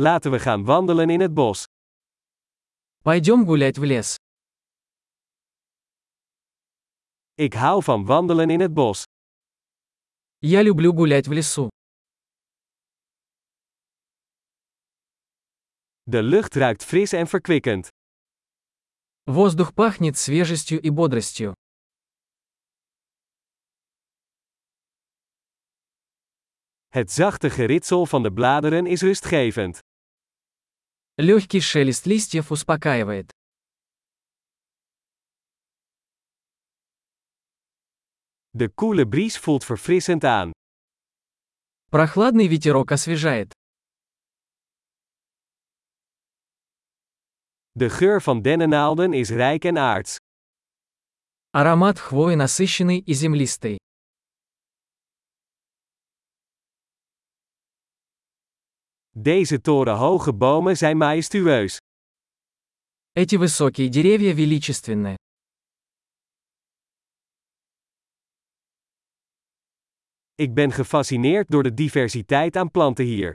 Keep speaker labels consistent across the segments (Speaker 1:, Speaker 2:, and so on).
Speaker 1: Laten we gaan wandelen in het bos.
Speaker 2: Пойдем гулять в лес.
Speaker 1: Ik hou van wandelen in het bos.
Speaker 2: Я люблю гулять в лесу.
Speaker 1: De lucht ruikt fris en verkwikkend.
Speaker 2: Воздух пахнет свежестью и бодростью.
Speaker 1: Het zachte geritsel van de bladeren is rustgevend.
Speaker 2: Легкий шелест листьев успокаивает.
Speaker 1: De koele bries voelt verfrissend aan.
Speaker 2: Прохладный ветерок освежает.
Speaker 1: De geur van dennennaalden is rijk en aards.
Speaker 2: Аромат хвои насыщенный и землистый.
Speaker 1: Deze torenhoge bomen zijn majestueus.
Speaker 2: Эти высокие деревья величественны.
Speaker 1: Ik ben gefascineerd door de diversiteit aan planten hier.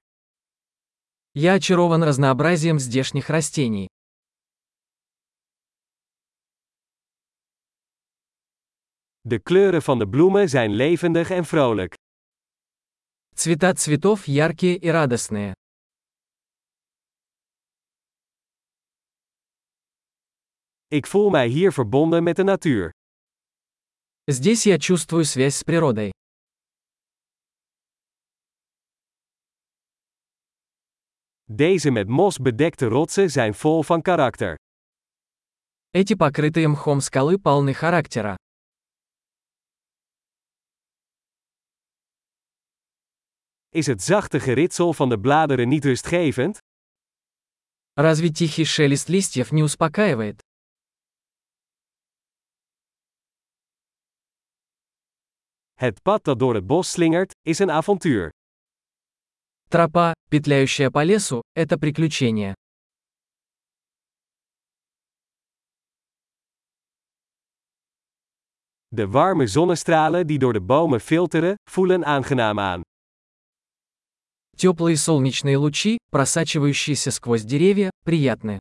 Speaker 2: Я очарован разнообразием здешних растений.
Speaker 1: De kleuren van de bloemen zijn levendig en vrolijk.
Speaker 2: Цвета цветов яркие и радостные.
Speaker 1: Ik voel mij hier verbonden met de natuur.
Speaker 2: Здесь я чувствую связь с природой.
Speaker 1: Deze met mos bedekte rotsen zijn vol van karakter.
Speaker 2: Эти покрытые мхом скалы полны характера.
Speaker 1: Is het zachte geritsel van de bladeren niet rustgevend?
Speaker 2: Разве тихий шелест листьев не успокаивает?
Speaker 1: Het pad dat door het bos slingert, is een avontuur.
Speaker 2: Тропа, петляющая по лесу, это приключение.
Speaker 1: De warme zonnestralen die door de bomen filteren, voelen aangenaam aan.
Speaker 2: Теплые солнечные лучи, просачивающиеся сквозь деревья, приятны.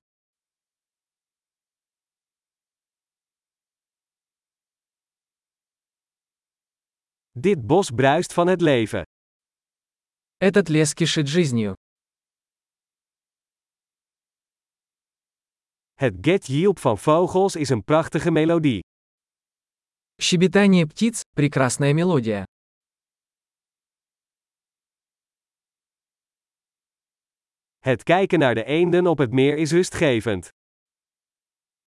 Speaker 1: Dit bos bruist van het leven.
Speaker 2: Этот лес кишит жизнью.
Speaker 1: Het getjilp van vogels is een prachtige melodie.
Speaker 2: Щебетание птиц – прекрасная мелодия.
Speaker 1: Het kijken naar de eenden op het meer is rustgevend.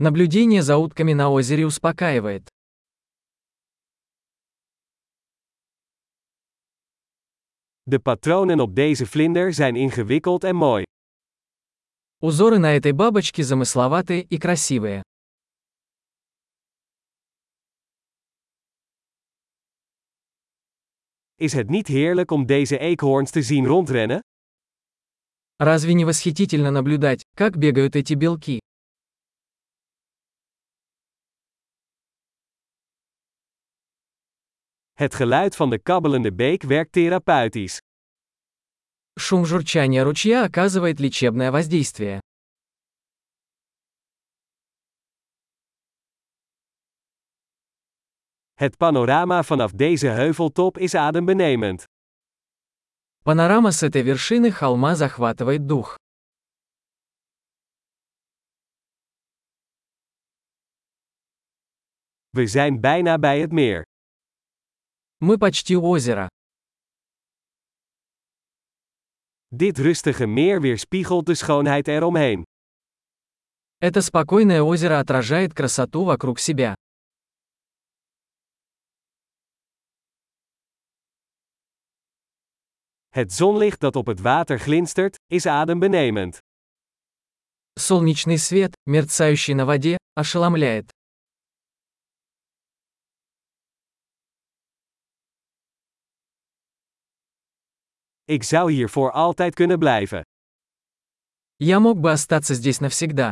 Speaker 2: Наблюдение за утками на озере успокаивает.
Speaker 1: De patronen op deze vlinder zijn ingewikkeld en mooi.
Speaker 2: Узоры на этой бабочке замысловатые и красивые.
Speaker 1: Is het niet heerlijk om deze eekhoorns te zien rondrennen?
Speaker 2: Разве не восхитительно наблюдать, как бегают эти белки?
Speaker 1: Het geluid van de kabbelende beek werkt therapeutisch.
Speaker 2: Шум журчания ручья оказывает лечебное воздействие.
Speaker 1: Het panorama vanaf deze heuveltop is adembenemend.
Speaker 2: Панорама с этой вершины холма захватывает дух.
Speaker 1: We zijn bijna bij het meer.
Speaker 2: Мы почти у озера.
Speaker 1: Dit rustige meer weerspiegelt de schoonheid eromheen.
Speaker 2: Это спокойное озеро отражает красоту вокруг себя.
Speaker 1: Het zonlicht dat op het water glinstert, is adembenemend.
Speaker 2: Солнечный свет, мерцающий на воде, ошеломляет.
Speaker 1: Ik zou hier voor altijd kunnen blijven.
Speaker 2: Я мог бы остаться здесь навсегда.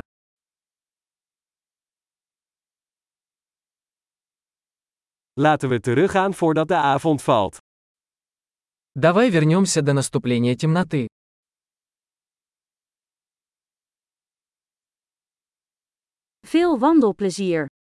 Speaker 1: Laten we teruggaan voordat de avond valt.
Speaker 2: Давай вернемся до наступления темноты.
Speaker 3: Veel wandelplezier!